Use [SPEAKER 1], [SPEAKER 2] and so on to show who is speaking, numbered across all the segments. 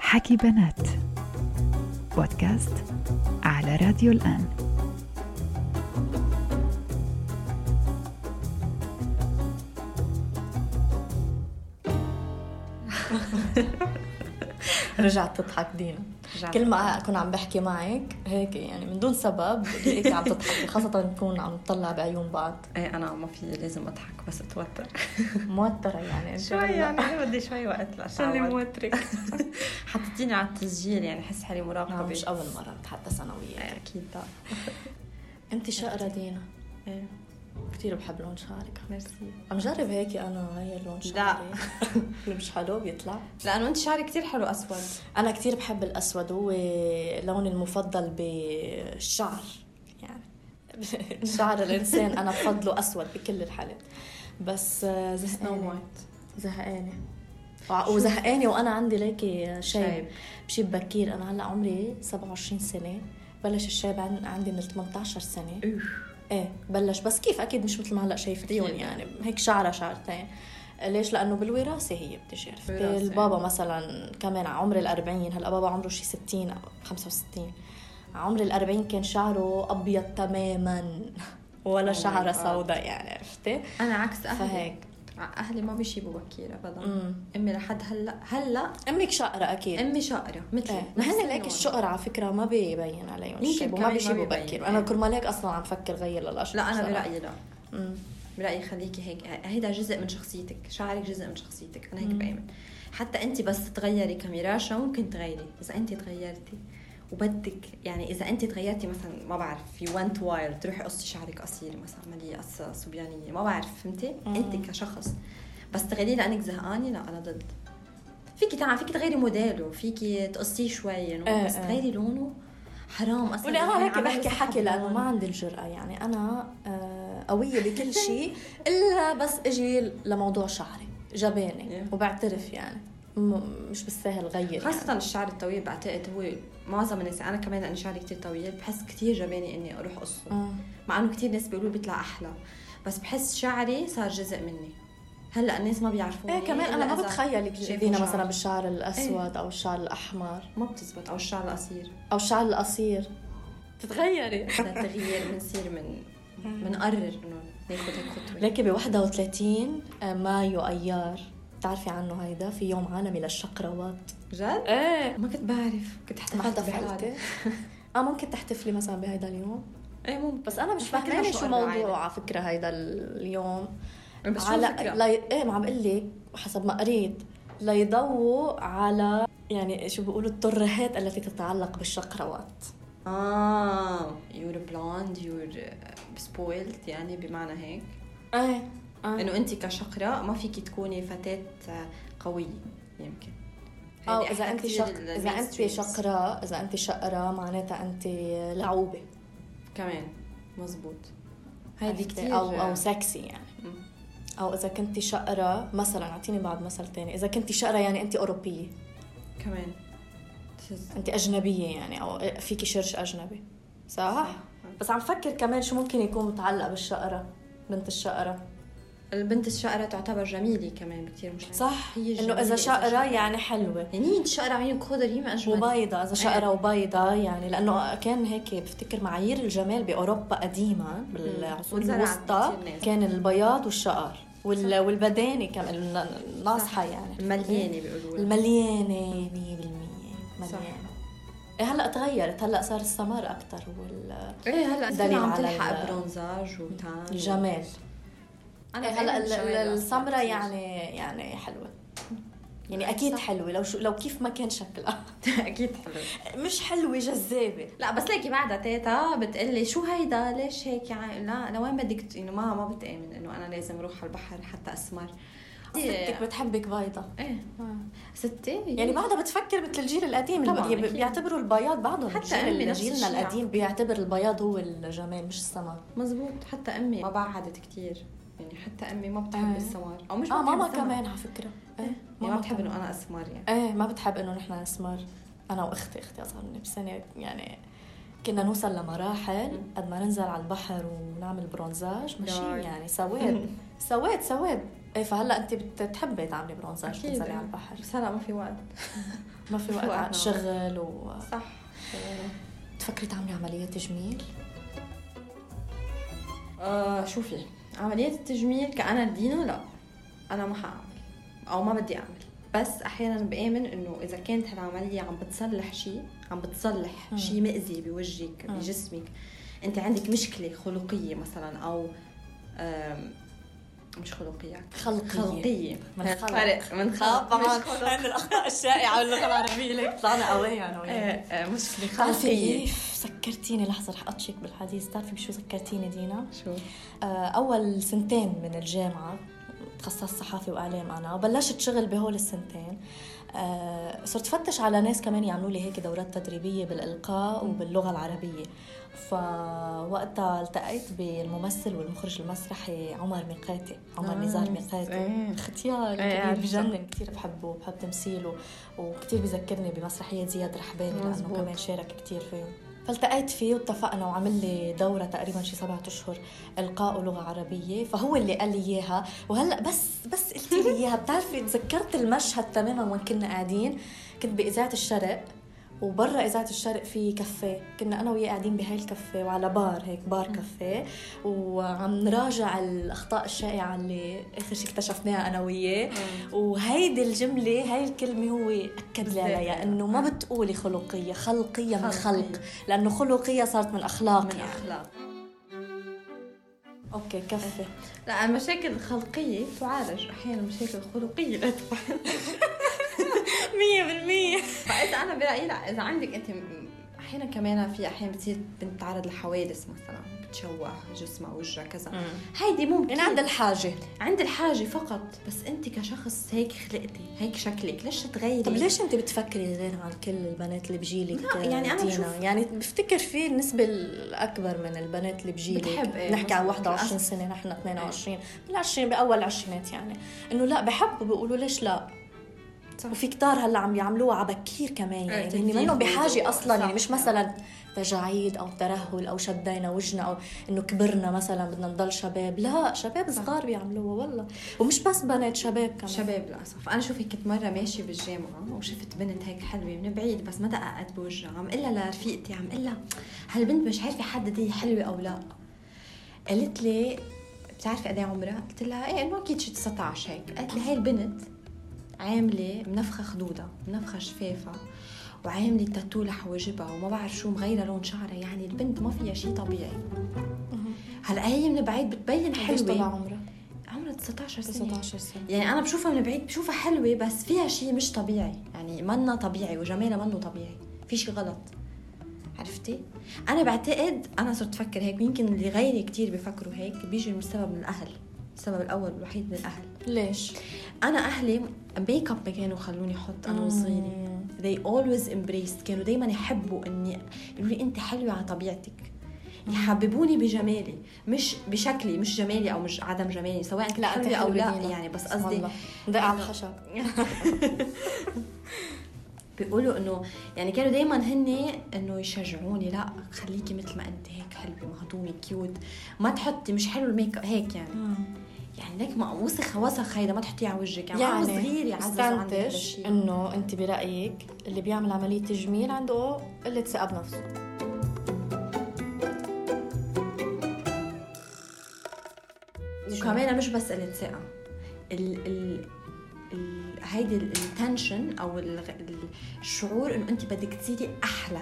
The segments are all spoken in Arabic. [SPEAKER 1] حكي بنات بودكاست على راديو الآن
[SPEAKER 2] رجعت تضحك دينا كل ما اكون عم بحكي معك هيك يعني من دون سبب هيك عم تضحكي خاصه نكون عم نطلع بعيون بعض
[SPEAKER 3] ايه انا ما في لازم اضحك بس اتوتر
[SPEAKER 2] موتره يعني إنت
[SPEAKER 3] شوي
[SPEAKER 2] هلا.
[SPEAKER 3] يعني إيه بدي شوي وقت لاتعود
[SPEAKER 4] موترك
[SPEAKER 3] حطيتيني على التسجيل يعني حس حالي
[SPEAKER 2] نعم،
[SPEAKER 3] مراقبه
[SPEAKER 2] مش اول مره نتحدث انا
[SPEAKER 3] إيه،
[SPEAKER 2] وياك
[SPEAKER 3] اكيد لا
[SPEAKER 2] انت شقره دينا
[SPEAKER 3] إيه،
[SPEAKER 2] كثير بحب لون شعرك
[SPEAKER 3] ميرسي
[SPEAKER 2] عم جرب هيك انا هي لون شعري اللي مش حلو بيطلع
[SPEAKER 3] لانه انت شعري كثير حلو اسود
[SPEAKER 2] انا كثير بحب الاسود هو لوني المفضل بالشعر يعني شعر الانسان انا بفضله اسود بكل الحالات بس آه، زهقانه زهقانه وع- وزهقانه وانا عندي ليكي شايب
[SPEAKER 3] شايب.
[SPEAKER 2] بشيب بكير انا هلا عمري 27 سنه بلش الشايب عن- عندي من 18 سنه ايه بلش بس كيف اكيد مش مثل ما هلا شايفتيهم
[SPEAKER 3] أكيد.
[SPEAKER 2] يعني هيك شعره شعرتين ليش لانه بالوراثه هي بتشرف
[SPEAKER 3] وراثة.
[SPEAKER 2] البابا مثلا كمان على عمر الأربعين هلا بابا عمره شي 60 او 65 على عمر الأربعين كان شعره ابيض تماما ولا
[SPEAKER 3] Oh my
[SPEAKER 2] شعره
[SPEAKER 3] God.
[SPEAKER 2] سوداء يعني عرفتي
[SPEAKER 3] انا عكس اهلي
[SPEAKER 2] فهيك.
[SPEAKER 3] ع- اهلي ما بيشيبوا بكير ابدا
[SPEAKER 2] امم
[SPEAKER 3] امي لحد هلا هلا
[SPEAKER 2] امك شقره اكيد
[SPEAKER 3] امي شقره مثلي
[SPEAKER 2] ايه ما
[SPEAKER 3] نفس
[SPEAKER 2] هن ليك
[SPEAKER 3] اللون.
[SPEAKER 2] الشقر على فكره ما بيبين عليهم
[SPEAKER 3] يمكن
[SPEAKER 2] الشيب وما
[SPEAKER 3] كمان ما
[SPEAKER 2] بيشيبوا
[SPEAKER 3] بيبين.
[SPEAKER 2] بكير انا
[SPEAKER 3] إيه.
[SPEAKER 2] كل ما ليك اصلا عم فكر غير للاشقر
[SPEAKER 3] لا انا
[SPEAKER 2] بصراحة.
[SPEAKER 3] برايي لا
[SPEAKER 2] أمم.
[SPEAKER 3] برايي خليكي هيك هيدا جزء من شخصيتك شعرك جزء من شخصيتك انا هيك
[SPEAKER 2] مم.
[SPEAKER 3] بامن حتى انت بس تغيري كميراشا ممكن تغيري اذا انت تغيرتي وبدك يعني اذا انت تغيرتي مثلا ما بعرف في وان وايل تروحي قصي شعرك قصير مثلا مالي قصه صبيانيه ما بعرف فهمتي
[SPEAKER 2] مم.
[SPEAKER 3] انت كشخص بس تغيريه لانك زهقانه لا انا ضد فيكي تعا فيكي تغيري موديله فيكي تقصيه شوي
[SPEAKER 2] إيه
[SPEAKER 3] يعني بس
[SPEAKER 2] إيه.
[SPEAKER 3] تغيري لونه حرام اصلا
[SPEAKER 2] ولي انا
[SPEAKER 3] يعني
[SPEAKER 2] هيك
[SPEAKER 3] عمال
[SPEAKER 2] بحكي
[SPEAKER 3] بس
[SPEAKER 2] حكي
[SPEAKER 3] أحب
[SPEAKER 2] لانه
[SPEAKER 3] اللون.
[SPEAKER 2] ما عندي الجرأه يعني انا آه، قويه بكل شيء الا بس اجي لموضوع شعري جباني
[SPEAKER 3] Yeah.
[SPEAKER 2] وبعترف يعني م- مش بالسهل غير يعني.
[SPEAKER 3] خاصة الشعر الطويل بعتقد هو معظم الناس أنا كمان لأن شعري كتير طويل بحس كتير جباني إني أروح قصه
[SPEAKER 2] يعني.
[SPEAKER 3] مع إنه كتير ناس بيقولوا بيطلع أحلى بس بحس شعري صار جزء مني هلا الناس ما بيعرفوني
[SPEAKER 2] ايه كمان انا
[SPEAKER 3] إلا
[SPEAKER 2] ما
[SPEAKER 3] إذا
[SPEAKER 2] بتخيلك
[SPEAKER 3] شافوا
[SPEAKER 2] دينا
[SPEAKER 3] شعر.
[SPEAKER 2] مثلا بالشعر الاسود او الشعر الاحمر
[SPEAKER 3] ما بتزبط أو الشعر القصير
[SPEAKER 2] او الشعر القصير تتغيري
[SPEAKER 3] بدنا التغيير بنصير من بنقرر إنه ناخد هيك خطوة
[SPEAKER 2] لكن ب 31 آه، مايو ايار بتعرفي عنه هيدا في يوم عالمي للشقروات
[SPEAKER 3] جد؟
[SPEAKER 2] ايه
[SPEAKER 3] ما كنت بعرف كنت
[SPEAKER 2] ما
[SPEAKER 3] احتفلت
[SPEAKER 2] احتفلتي
[SPEAKER 3] بحالي
[SPEAKER 2] اه ممكن تحتفلي مثلا بهيدا اليوم
[SPEAKER 3] ايه ممكن
[SPEAKER 2] بس انا مش
[SPEAKER 3] إحنا كلنا
[SPEAKER 2] فاهمه شو
[SPEAKER 3] شقراء
[SPEAKER 2] موضوع
[SPEAKER 3] عادي.
[SPEAKER 2] على فكره هيدا اليوم
[SPEAKER 3] بس شو
[SPEAKER 2] على
[SPEAKER 3] الفكرة؟
[SPEAKER 2] لا ي... ايه ما عم بقول لك حسب ما قريت ليضووا على يعني شو بيقولوا الترهات التي تتعلق بالشقروات
[SPEAKER 3] اه يور بلاند يور سبويلت يعني بمعنى هيك
[SPEAKER 2] ايه
[SPEAKER 3] انه انت كشقراء ما فيك تكوني فتاه قويه يمكن
[SPEAKER 2] او
[SPEAKER 3] هيدي أحلى
[SPEAKER 2] اذا انت
[SPEAKER 3] كتير
[SPEAKER 2] شق...
[SPEAKER 3] لل-
[SPEAKER 2] اذا انت
[SPEAKER 3] mainstreams.
[SPEAKER 2] شقراء اذا انت شقراء معناتها انت لعوبه
[SPEAKER 3] كمان مزبوط هيدي
[SPEAKER 2] هيدي
[SPEAKER 3] كثير
[SPEAKER 2] او او سكسي يعني او اذا كنت شقراء مثلا اعطيني بعد مثل تاني اذا كنت شقراء يعني انت اوروبيه
[SPEAKER 3] كمان تز-
[SPEAKER 2] انت اجنبيه يعني او فيكي شرش اجنبي صح؟
[SPEAKER 3] صح.
[SPEAKER 2] بس عم فكر كمان شو ممكن يكون متعلق بالشقره بنت الشقره
[SPEAKER 3] البنت الشقرة تعتبر جميلة كمان كثير مش
[SPEAKER 2] صح
[SPEAKER 3] هي
[SPEAKER 2] انه
[SPEAKER 3] جميلة
[SPEAKER 2] اذا شقره
[SPEAKER 3] شقرة.
[SPEAKER 2] يعني حلوه
[SPEAKER 3] يعني هي الشقرة عيون خضر هي ما اجمل
[SPEAKER 2] وبيضة إذا
[SPEAKER 3] إيه.
[SPEAKER 2] شقرة وبيضة يعني لأنه كان هيك بفتكر معايير الجمال بأوروبا قديما بالعصور
[SPEAKER 3] وزرعت
[SPEAKER 2] الوسطى
[SPEAKER 3] كتير ناس.
[SPEAKER 2] كان البياض والشقر وال... والبدانة كمان الناصحة يعني
[SPEAKER 3] مليانة بيقولوا لها.
[SPEAKER 2] المليانة 100%
[SPEAKER 3] صح.
[SPEAKER 2] مليانة إيه هلا تغيرت هلا صار السمر أكثر وال...
[SPEAKER 3] ايه هلا
[SPEAKER 2] دليل
[SPEAKER 3] دليل عم
[SPEAKER 2] على
[SPEAKER 3] تلحق
[SPEAKER 2] ال-
[SPEAKER 3] برونزاج وتان
[SPEAKER 2] الجمال
[SPEAKER 3] انا
[SPEAKER 2] إيه هلا
[SPEAKER 3] بآمن
[SPEAKER 2] ال-
[SPEAKER 3] بالشقرة
[SPEAKER 2] ال-
[SPEAKER 3] أصلاً
[SPEAKER 2] السمرة
[SPEAKER 3] كتير.
[SPEAKER 2] يعني يعني حلوة يعني أكيد
[SPEAKER 3] صح.
[SPEAKER 2] حلوة لو شو لو كيف ما كان شكلها
[SPEAKER 3] اكيد حلو
[SPEAKER 2] مش حلوة جذابة
[SPEAKER 3] لا بس ليكي بعدها تيتا بتقلي شو هيدا ليش هيك يعني لا لوين بدك ت- انه ما ما بتامن انه انا لازم اروح على البحر حتى إيه. اسمر
[SPEAKER 2] ستك بتحبك بيضة
[SPEAKER 3] ايه ستي
[SPEAKER 2] آه. يعني بعدها بتفكر مثل الجيل القديم
[SPEAKER 3] طبعاً،
[SPEAKER 2] اللي بي-
[SPEAKER 3] أكيد.
[SPEAKER 2] بيعتبروا البياض بعدهم
[SPEAKER 3] حتى
[SPEAKER 2] الجيل
[SPEAKER 3] أمي
[SPEAKER 2] اللي
[SPEAKER 3] نفس
[SPEAKER 2] جيلنا
[SPEAKER 3] الشيء.
[SPEAKER 2] القديم بيعتبر البياض هو الجمال مش السمر
[SPEAKER 3] مزبوط حتى امي ما بعدت كتير يعني حتى امي ما بتحب
[SPEAKER 2] إيه.
[SPEAKER 3] آه. السمر او مش
[SPEAKER 2] اه
[SPEAKER 3] بتحب
[SPEAKER 2] ماما
[SPEAKER 3] السمر.
[SPEAKER 2] كمان على فكره ايه
[SPEAKER 3] يعني ما
[SPEAKER 2] ماما
[SPEAKER 3] بتحب
[SPEAKER 2] كمان.
[SPEAKER 3] انه انا اسمر يعني
[SPEAKER 2] ايه ما بتحب انه نحن نسمر انا واختي اختي اصغر مني بسنه يعني كنا نوصل لمراحل قد ما ننزل على البحر ونعمل برونزاج ماشي
[SPEAKER 3] دار.
[SPEAKER 2] يعني سواد سواد سواد ايه فهلا انت بتحبي تعملي برونزر
[SPEAKER 3] أكيد.
[SPEAKER 2] تنزلي على البحر
[SPEAKER 3] بس هلا ما في وقت
[SPEAKER 2] ما في وقت
[SPEAKER 3] وقت
[SPEAKER 2] على
[SPEAKER 3] نوم.
[SPEAKER 2] الشغل و
[SPEAKER 3] صح
[SPEAKER 2] تفكري تعملي عملية تجميل؟
[SPEAKER 3] آه شوفي عملية التجميل كأنا الدينا لا أنا ما حأعمل أو ما بدي أعمل بس أحيانا بآمن إنه إذا كانت هالعملية عم بتصلح شيء عم بتصلح
[SPEAKER 2] مم.
[SPEAKER 3] شيء مأذي بوجهك
[SPEAKER 2] مم.
[SPEAKER 3] بجسمك أنت عندك مشكلة خلقية مثلا أو آم، مش خلقية
[SPEAKER 2] خلقية.
[SPEAKER 3] خلقية
[SPEAKER 2] من خلق. آه،
[SPEAKER 3] فرق. من خلق مش خلق.
[SPEAKER 2] هن الاخطاء الشائعة واللغة العربية ليك طلعنا قوية انا وياك
[SPEAKER 3] آه، آه، مشكلة
[SPEAKER 2] بتعرفي
[SPEAKER 3] خلقية
[SPEAKER 2] كيف سكرتيني لحظة رح أطشك بالحديث بتعرفي بشو سكرتيني دينا؟
[SPEAKER 3] شو
[SPEAKER 2] آه، أول سنتين من الجامعة تخصصت صحافة وإعلام أنا وبلشت شغل بهول السنتين آه، صرت فتش على ناس كمان يعملوا لي هيك دورات تدريبية بالإلقاء وباللغة العربية فوقتها التقيت بالممثل والمخرج المسرحي عمر ميقاتي عمر
[SPEAKER 3] آه،
[SPEAKER 2] نزار ميقاتي
[SPEAKER 3] إيه.
[SPEAKER 2] ختيار
[SPEAKER 3] إيه،
[SPEAKER 2] كبير
[SPEAKER 3] عارفة.
[SPEAKER 2] بجنن كثير بحبه بحب تمثيله وكثير بذكرني بمسرحية زياد رحباني لأنه
[SPEAKER 3] مزبوط.
[SPEAKER 2] كمان شارك كثير فيه فالتقيت فيه واتفقنا وعمل لي دورة تقريبا شي سبعة أشهر إلقاء ولغة عربية فهو اللي قال لي إياها وهلا بس بس قلت لي إياها بتعرفي تذكرت المشهد تماما وين كنا قاعدين كنت بإذاعة الشرق وبرا إذاعة الشرق في كافيه كنا أنا وياه قاعدين بهاي الكافيه وعلى بار هيك بار كافيه وعم نراجع الأخطاء الشائعة اللي آخر شي اكتشفناها أنا وياه وهيدي الجملة هاي الكلمة هو أكد لي عليها إنه ما بتقولي خلقية خلقية من
[SPEAKER 3] خلقية.
[SPEAKER 2] خلق لأنه خلقية صارت من أخلاق
[SPEAKER 3] من
[SPEAKER 2] يعني.
[SPEAKER 3] أخلاق
[SPEAKER 2] أوكي كفي
[SPEAKER 3] لا المشاكل الخلقية تعالج أحيانا مشاكل خلقية لا تعالج
[SPEAKER 2] مية بالمية
[SPEAKER 3] فإذا أنا برأيي لا إذا عندك أنت م- أحيانا كمان في أحيانا بتصير بنتعرض لحوادث مثلا بتشوه جسمها وجهها كذا هيدي ممكن
[SPEAKER 2] أنا يعني عند الحاجة
[SPEAKER 3] عند الحاجة فقط بس أنت كشخص هيك خلقتي هيك شكلك ليش تغيري
[SPEAKER 2] طب ليش انت بتفكري غير عن كل البنات اللي بجيلك
[SPEAKER 3] لا، يعني أنا
[SPEAKER 2] دينا؟
[SPEAKER 3] بشوف-
[SPEAKER 2] يعني بفتكر في النسبه الاكبر من البنات اللي بجيلك
[SPEAKER 3] بتحب، إيه،
[SPEAKER 2] نحكي عن
[SPEAKER 3] مظبوط.
[SPEAKER 2] 21 سنه نحن 22 بال 20 باول العشرينات يعني انه لا بحبوا بيقولوا ليش لا
[SPEAKER 3] صح.
[SPEAKER 2] وفي كتار هلا عم يعملوها على بكير كمان
[SPEAKER 3] إيه،
[SPEAKER 2] يعني هن
[SPEAKER 3] تدليك
[SPEAKER 2] منهم بحاجه
[SPEAKER 3] وضوء.
[SPEAKER 2] اصلا يعني
[SPEAKER 3] صح.
[SPEAKER 2] مش مثلا تجاعيد او ترهل او شدينا وجنا او انه كبرنا مثلا بدنا نضل شباب لا شباب صغار بيعملوها والله ومش بس بنات شباب كمان
[SPEAKER 3] شباب للاسف انا شوفي كنت مره ماشيه بالجامعه وشفت بنت هيك حلوه من بعيد بس ما دققت بوجهها عم قلها لرفيقتي عم قلها هالبنت مش عارفه حدد هي حلوه او لا قالت لي بتعرفي قد إيه عمرها؟ قلت لها ايه انه اكيد شي 19 هيك قالت لي هاي البنت عامله منفخه خدودها منفخه شفافها وعامله تاتو لحواجبها وما بعرف شو مغيره لون شعرها يعني البنت ما فيها شيء طبيعي
[SPEAKER 2] مهم.
[SPEAKER 3] هلا هي من بعيد بتبين
[SPEAKER 2] قديش طلع
[SPEAKER 3] حلوه
[SPEAKER 2] عمرها؟
[SPEAKER 3] عمرها 19 سنه
[SPEAKER 2] 19 سنة
[SPEAKER 3] يعني انا بشوفها من بعيد بشوفها حلوه بس فيها شيء مش طبيعي يعني منا طبيعي وجمالها منه طبيعي في شيء غلط عرفتي انا بعتقد انا صرت افكر هيك يمكن اللي غيري كتير بفكروا هيك بيجي من سبب من الاهل السبب الاول والوحيد من الاهل
[SPEAKER 2] ليش؟
[SPEAKER 3] انا اهلي ميك اب ما كانوا خلوني احط انا وصغيره they always embraced كانوا دايما يحبوا اني يقولوا لي انت حلوه على طبيعتك يحببوني بجمالي مش بشكلي مش جمالي او مش عدم جمالي سواء كنت
[SPEAKER 2] لا
[SPEAKER 3] حلوه او لا يعني بس قصدي
[SPEAKER 2] دق على الخشب
[SPEAKER 3] بيقولوا انه يعني كانوا دائما هن انه يشجعوني لا خليكي مثل ما انت هيك حلوه مهضومه كيوت ما تحطي مش حلو الميك اب هيك يعني يعني لك ما وسخ وسخ هيدا ما تحطيه على وجهك يعني, يعني صغير يعزز عندك هذا
[SPEAKER 2] استنتج
[SPEAKER 3] الشيء.
[SPEAKER 2] انه انت برايك اللي بيعمل عمليه تجميل عنده قله ثقه بنفسه
[SPEAKER 3] وكمان مش بس الثقه ال ال ال- هيدي التنشن او الغ- الشعور انه انت بدك تصيري احلى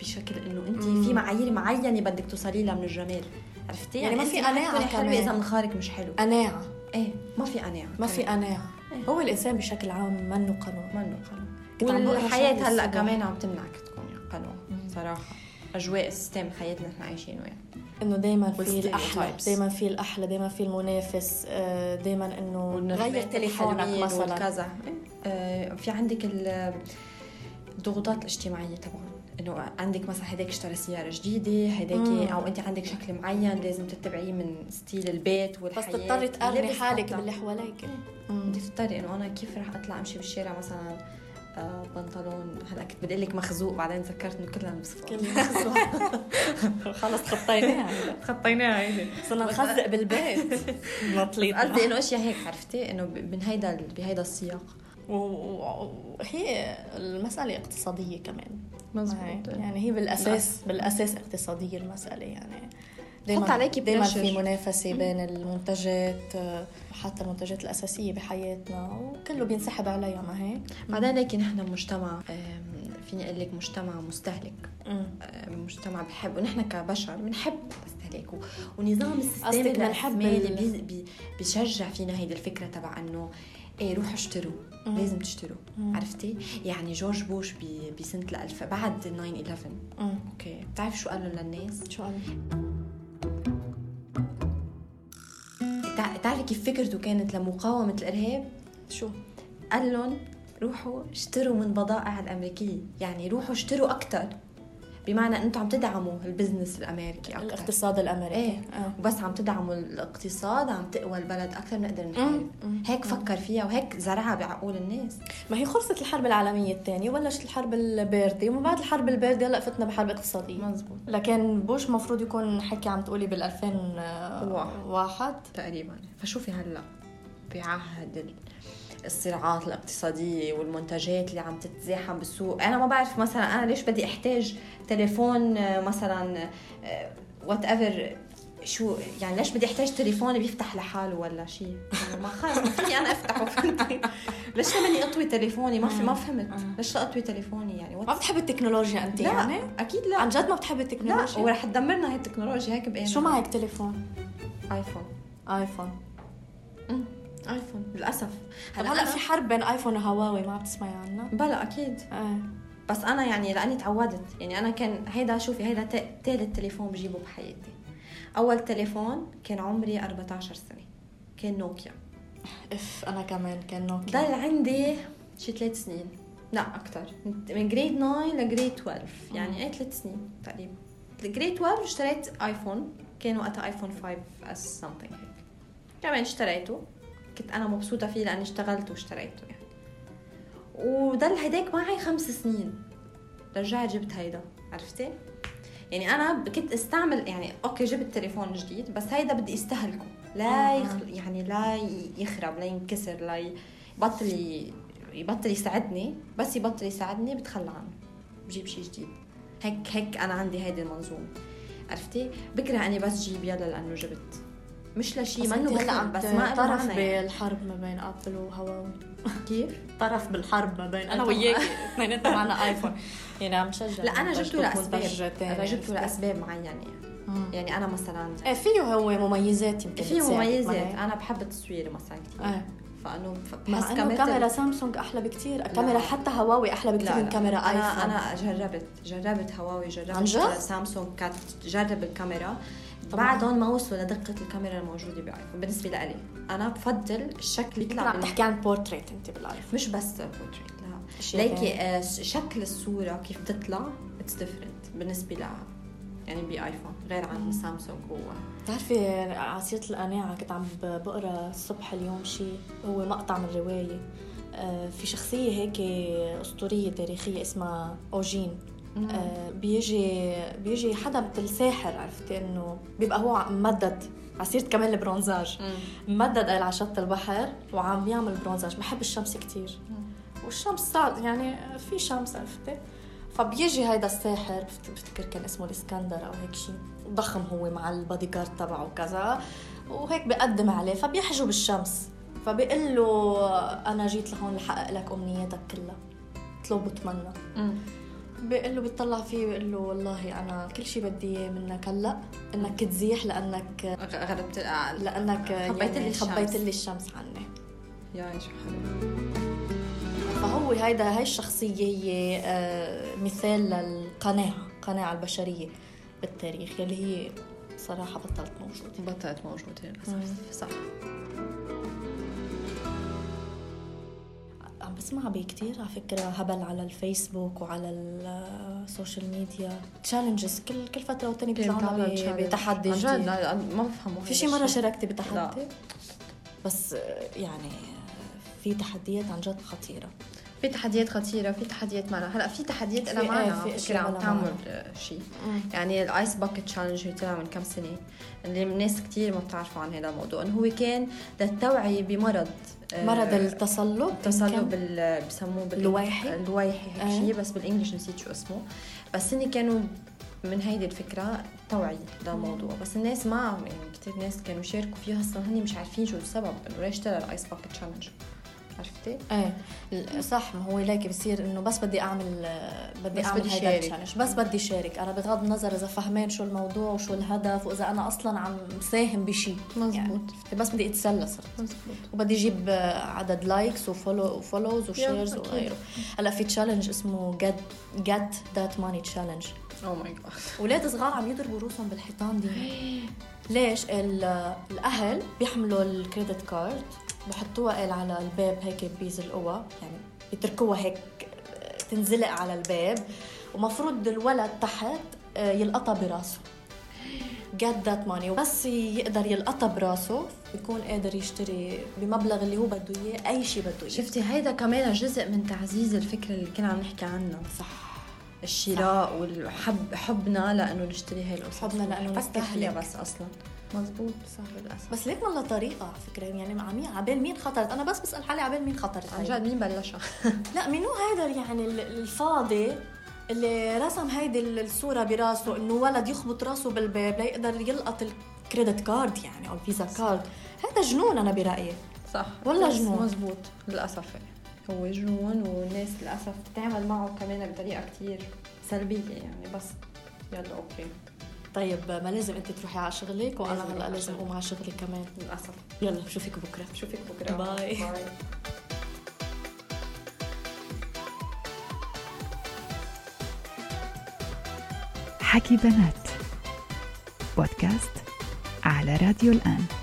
[SPEAKER 3] بشكل انه انت في معايير معينه بدك توصلي لها من الجمال عرفتي
[SPEAKER 2] يعني ما
[SPEAKER 3] أنت
[SPEAKER 2] في
[SPEAKER 3] بدك
[SPEAKER 2] قناعة
[SPEAKER 3] تكوني حلوه
[SPEAKER 2] كمان.
[SPEAKER 3] اذا منخارك مش حلو
[SPEAKER 2] قناعه
[SPEAKER 3] ايه ما في قناعه
[SPEAKER 2] ما في قناعه
[SPEAKER 3] إيه.
[SPEAKER 2] هو الانسان بشكل عام منه قانون
[SPEAKER 3] منه قانون
[SPEAKER 2] كنت عم بقرا شغلة
[SPEAKER 3] والحياة هلا
[SPEAKER 2] الصبح.
[SPEAKER 3] كمان عم تمنعك تكون قانون صراحة أجواء السيستم حياتنا نحن عايشين وياه
[SPEAKER 2] انه دائما في
[SPEAKER 3] والstereotypes.
[SPEAKER 2] الاحلى دائما في الاحلى دائما في المنافس دائما انه غير تليفونك مثلا
[SPEAKER 3] كذا آه، في عندك ال- الضغوطات الاجتماعية طبعا انه عندك مثلا هداك اشترى سيارة جديدة هداك
[SPEAKER 2] مم.
[SPEAKER 3] او انت عندك شكل معين لازم تتبعيه من ستيل البيت
[SPEAKER 2] بس
[SPEAKER 3] والحياة إيه.
[SPEAKER 2] تضطري تقارني
[SPEAKER 3] اللبس
[SPEAKER 2] حالك
[SPEAKER 3] حتى.
[SPEAKER 2] باللي حواليك
[SPEAKER 3] بدك تضطري انه انا كيف رح اطلع امشي بالشارع مثلا آه، بنطلون هلا كنت بدي أقول لك مخزوق بعدين تذكرت انه كلنا بنلبس
[SPEAKER 2] كل خلص خطيناها
[SPEAKER 3] خطيناها هيدي
[SPEAKER 2] صرنا نخزق بالبيت
[SPEAKER 3] قصدي
[SPEAKER 2] مطليطنا
[SPEAKER 3] انه اشياء هيك عرفتي انه ب- من هيدا ال- بهيدا السياق
[SPEAKER 2] وهي المسألة اقتصادية كمان
[SPEAKER 3] مزبوط
[SPEAKER 2] يعني هي بالأساس بالأساس اقتصادية المسألة يعني دايماً-
[SPEAKER 3] حط عليكي
[SPEAKER 2] دايما
[SPEAKER 3] pressure.
[SPEAKER 2] في منافسة بين المنتجات آه، حتى المنتجات الأساسية بحياتنا وكله بينسحب عليها ما هيك
[SPEAKER 3] بعدين لكن نحن مجتمع آم، فيني اقول لك مجتمع مستهلك
[SPEAKER 2] مم.
[SPEAKER 3] آم، مجتمع بحب ونحن كبشر بنحب الاستهلاك و- ونظام السيستم
[SPEAKER 2] قصدك بنحب
[SPEAKER 3] الرأسمالي
[SPEAKER 2] ال-
[SPEAKER 3] بي- بي- بيشجع فينا هيدي الفكره تبع انه ايه روحوا اشتروا
[SPEAKER 2] مم.
[SPEAKER 3] لازم تشتروا
[SPEAKER 2] مم.
[SPEAKER 3] عرفتي يعني جورج بوش ب- بسنه 2000 بعد 9 11
[SPEAKER 2] مم.
[SPEAKER 3] اوكي بتعرف شو قالوا للناس
[SPEAKER 2] شو قال؟
[SPEAKER 3] تع- بتعرفي كيف فكرته كانت لمقاومه الارهاب
[SPEAKER 2] شو؟
[SPEAKER 3] قال لهم روحوا اشتروا من بضائع الامريكيه يعني روحوا اشتروا اكثر بمعنى انتم عم تدعموا البزنس الامريكي اكثر
[SPEAKER 2] الاقتصاد الأمريكي
[SPEAKER 3] ايه
[SPEAKER 2] آه.
[SPEAKER 3] وبس عم تدعموا الاقتصاد عم تقوى البلد اكثر بنقدر نحارب
[SPEAKER 2] مم.
[SPEAKER 3] هيك فكر فيها وهيك زرعها بعقول الناس
[SPEAKER 2] ما هي خلصت الحرب العالمية الثانية وبلشت الحرب الباردة ومن بعد الحرب الباردة هلا فتنا بحرب اقتصادية
[SPEAKER 3] مزبوط
[SPEAKER 2] لكن بوش مفروض يكون حكي عم تقولي بال 2001
[SPEAKER 3] تقريبا فشوفي هلا بعهد ال- الصراعات الاقتصادية والمنتجات اللي عم تتزاحم بالسوق أنا ما بعرف مثلا أنا ليش بدي أحتاج تليفون آه، مثلا وات ايفر شو يعني ليش بدي احتاج تليفون بيفتح لحاله ولا شيء ما خلص ما فيني انا افتحه فهمتي ليش بدي اطوي تليفوني ما في ما فهمت ليش لا اطوي تليفوني يعني
[SPEAKER 2] ما بتحبي التكنولوجيا انت يعني؟
[SPEAKER 3] لا اكيد لا
[SPEAKER 2] عن جد ما بتحبي
[SPEAKER 3] لا
[SPEAKER 2] التكنولوجيا؟
[SPEAKER 3] ورح تدمرنا هي التكنولوجيا هيك بقينا
[SPEAKER 2] شو معك تليفون؟
[SPEAKER 3] ايفون
[SPEAKER 2] ايفون
[SPEAKER 3] أمم، ايفون للاسف
[SPEAKER 2] طب هلا في حرب بين ايفون وهواوي ما عم تسمعي عنها؟
[SPEAKER 3] بلا اكيد
[SPEAKER 2] ايه
[SPEAKER 3] بس انا يعني لاني تعودت يعني انا كان هيدا شوفي هيدا تا- تالت تليفون بجيبه بحياتي اول تليفون كان عمري 14 سنه كان نوكيا
[SPEAKER 2] اف انا كمان كان
[SPEAKER 3] ضل
[SPEAKER 2] نوكيا
[SPEAKER 3] عندي شي ثلاث سنين لا اكثر من جريد 9 لجريد 12 يعني ايه ثلاث سنين تقريبا جريد 12 اشتريت ايفون كان وقتها ايفون 5 اس سمثينج هيك كمان اشتريته كنت انا مبسوطه فيه لاني اشتغلت واشتريته يعني وضل هداك معي خمس سنين رجعت جبت هيدا عرفتي يعني انا ب- كنت استعمل يعني اوكي جبت تليفون جديد بس هيدا بدي استهلكه لا
[SPEAKER 2] آه.
[SPEAKER 3] يخل يعني لا ي- يخرب لا ينكسر لا ي- يبطل ي- يبطل يساعدني بس يبطل يساعدني بتخلى عنه بجيب شيء جديد هيك هيك انا عندي هيدي المنظومه عرفتي بكره اني بس جيب يلا لانه جبت مش لشيء
[SPEAKER 2] بس
[SPEAKER 3] منه
[SPEAKER 2] أنت
[SPEAKER 3] بخلق
[SPEAKER 2] عم
[SPEAKER 3] بس ما إله
[SPEAKER 2] طرف
[SPEAKER 3] معنى يعني.
[SPEAKER 2] بالحرب ما بين ابل وهواوي
[SPEAKER 3] كيف
[SPEAKER 2] طرف بالحرب ما بين انا
[SPEAKER 3] أنتم-
[SPEAKER 2] وياكي اثنيناتنا معنا ايفون يعني عم شجع
[SPEAKER 3] لا انا جبته لاسباب
[SPEAKER 2] لاسباب
[SPEAKER 3] انا جبته لاسباب معينه
[SPEAKER 2] مم.
[SPEAKER 3] يعني انا مثلا
[SPEAKER 2] ايه فيه هو مميزات يمكن
[SPEAKER 3] في
[SPEAKER 2] تساعد
[SPEAKER 3] مميزات آه.
[SPEAKER 2] معي.
[SPEAKER 3] انا بحب التصوير مثلا كثير
[SPEAKER 2] إيه.
[SPEAKER 3] فانه
[SPEAKER 2] مع
[SPEAKER 3] بحس
[SPEAKER 2] انه
[SPEAKER 3] كاميرا
[SPEAKER 2] كاميرا سامسونج احلى بكتير كاميرا حتى هواوي احلى بكتير من كاميرا ايفون
[SPEAKER 3] انا انا جربت جربت هواوي
[SPEAKER 2] عن
[SPEAKER 3] جربت
[SPEAKER 2] جد؟
[SPEAKER 3] سامسونج كانت جرب الكاميرا
[SPEAKER 2] طبعاً.
[SPEAKER 3] بعدهم ما وصلوا لدقه الكاميرا الموجوده بايفون بالنسبه لإلي انا بفضل الشكل
[SPEAKER 2] يمكن
[SPEAKER 3] يطلع
[SPEAKER 2] عم
[SPEAKER 3] بال-
[SPEAKER 2] تحكي عن بورتريت انت بالايفون
[SPEAKER 3] مش بس بورتريت لا
[SPEAKER 2] أشياء
[SPEAKER 3] ليكي آه، ش- شكل الصوره كيف بتطلع اتس ديفرنت بالنسبه ل يعني بايفون غير عن سامسونج و
[SPEAKER 2] بتعرفي عصيرة القناعة كنت عم بقرا الصبح اليوم شيء هو مقطع من رواية آه، في شخصية هيك أسطورية تاريخية اسمها أوجين آه، بيجي بيجي حدا مثل ساحر عرفتي انه بيبقى هو ممدد عصيرة كمان البرونزاج ممدد على شط البحر وعم بيعمل برونزاج بحب الشمس كتير والشمس صار يعني في شمس عرفتي فبيجي هيدا الساحر بفت- بفتكر كان اسمه الاسكندر او هيك شيء ضخم هو مع البادي جارد تبعه وكذا وهيك بقدم عليه فبيحجب الشمس فبيقول له انا جيت لهون لحقق لك امنياتك كلها اطلب وتمنى بيقول له بيطلع فيه بيقول له والله انا كل شيء بدي اياه منك هلا انك تزيح لانك
[SPEAKER 3] غربت آه، العقل
[SPEAKER 2] لانك
[SPEAKER 3] خبيت لي
[SPEAKER 2] يعني
[SPEAKER 3] الشمس.
[SPEAKER 2] خبيت لي الشمس عني
[SPEAKER 3] يا شو حلو
[SPEAKER 2] فهو هيدا هاي الشخصية هي آه، مثال للقناعة القناعة البشرية بالتاريخ يلي هي صراحة بطلت موجودة
[SPEAKER 3] بطلت موجوده للاسف صح
[SPEAKER 2] عم بسمع بيه كتير على فكرة هبل على الفيسبوك وعلى آه، السوشيال ميديا تشالنجز كل كل فترة والتانية بيطلعوا لنا ب- بتحدي
[SPEAKER 3] عن جد
[SPEAKER 2] جديد
[SPEAKER 3] لا، لا، ما بفهمه
[SPEAKER 2] في شي مرة شاركتي بتحدي؟
[SPEAKER 3] لا.
[SPEAKER 2] بس آه، يعني آه، في تحديات عن جد خطيرة
[SPEAKER 3] في تحديات خطيره في تحديات معنا هلا في تحديات لها
[SPEAKER 2] في-
[SPEAKER 3] معنى
[SPEAKER 2] آه، في
[SPEAKER 3] على فكره
[SPEAKER 2] أشياء
[SPEAKER 3] عم
[SPEAKER 2] لها
[SPEAKER 3] تعمل
[SPEAKER 2] معنى.
[SPEAKER 3] آه، شيء يعني الايس باكيت تشالنج اللي طلع من كم سنه اللي الناس كتير ما بتعرفوا عن هذا الموضوع انه هو كان للتوعيه بمرض آه،
[SPEAKER 2] مرض التصلب
[SPEAKER 3] تصلب
[SPEAKER 2] كان-
[SPEAKER 3] بال بسموه بال-
[SPEAKER 2] الوايحي؟
[SPEAKER 3] الوايحي هيك
[SPEAKER 2] آه.
[SPEAKER 3] شيء بس بالانجلش نسيت شو اسمه بس هن كانوا من هيدي الفكره توعيه للموضوع بس الناس ما عم- يعني كثير ناس كانوا شاركوا فيها اصلا هن مش عارفين شو السبب انه ليش طلع الايس باكيت تشالنج عرفتي؟
[SPEAKER 2] ايه ال- صح ما هو ليك بصير انه بس بدي اعمل بدي
[SPEAKER 3] بس
[SPEAKER 2] اعمل
[SPEAKER 3] بدي
[SPEAKER 2] هيدا
[SPEAKER 3] شارك.
[SPEAKER 2] التشالنج بس بدي شارك انا بغض النظر اذا فهمان شو الموضوع وشو الهدف واذا انا اصلا عم ساهم بشيء
[SPEAKER 3] مزبوط.
[SPEAKER 2] عرفتي؟ بس بدي اتسلى صرت
[SPEAKER 3] مزبوط
[SPEAKER 2] وبدي اجيب آه، عدد لايكس وفولو وفولوز وشيرز
[SPEAKER 3] أكيد.
[SPEAKER 2] وغيره هلا في تشالنج اسمه جت جت ذات ماني تشالنج
[SPEAKER 3] او ماي جاد
[SPEAKER 2] اولاد صغار عم يضربوا روسهم بالحيطان دي ليش ال- الاهل بيحملوا الكريدت كارد بحطوها قال على الباب هيك بيزلقوها يعني بيتركوها هيك تنزلق على الباب ومفروض الولد تحت آه، يلقطها براسه get that money بس يقدر يلقطها براسه بيكون قادر يشتري بمبلغ اللي هو بده اياه اي شيء بده اياه
[SPEAKER 3] شفتي هيدا كمان جزء من تعزيز الفكره اللي كنا عم نحكي عنها
[SPEAKER 2] صح
[SPEAKER 3] الشراء والحب حبنا لانه نشتري هاي القصص
[SPEAKER 2] حبنا لأنه
[SPEAKER 3] بس تحليه
[SPEAKER 2] نستهلك.
[SPEAKER 3] بس اصلا مزبوط صح للاسف
[SPEAKER 2] بس ليك والله طريقه على فكره يعني مع مين عبال مين خطرت انا بس بسال حالي عبال مين خطرت
[SPEAKER 3] عن جد مين بلشها؟
[SPEAKER 2] لا منو هيدا يعني ال- الفاضي اللي رسم هيدي ال- الصورة براسه انه ولد يخبط راسه بالباب ليقدر يلقط الكريدت كارد يعني او الفيزا كارد هذا جنون انا برأيي
[SPEAKER 3] صح
[SPEAKER 2] والله
[SPEAKER 3] بس
[SPEAKER 2] جنون.
[SPEAKER 3] مزبوط للاسف إيه. هو جنون والناس للاسف بتعمل معه كمان بطريقه كتير سلبيه يعني بس يلا اوكي
[SPEAKER 2] طيب ما لازم انت تروحي على شغلك
[SPEAKER 3] لازم
[SPEAKER 2] وانا هلا
[SPEAKER 3] أروح
[SPEAKER 2] لازم اقوم على شغلي كمان
[SPEAKER 3] للاسف
[SPEAKER 2] يلا بشوفك بكره
[SPEAKER 3] بشوفك بكره
[SPEAKER 2] باي.
[SPEAKER 3] باي.
[SPEAKER 1] حكي بنات بودكاست على راديو الآن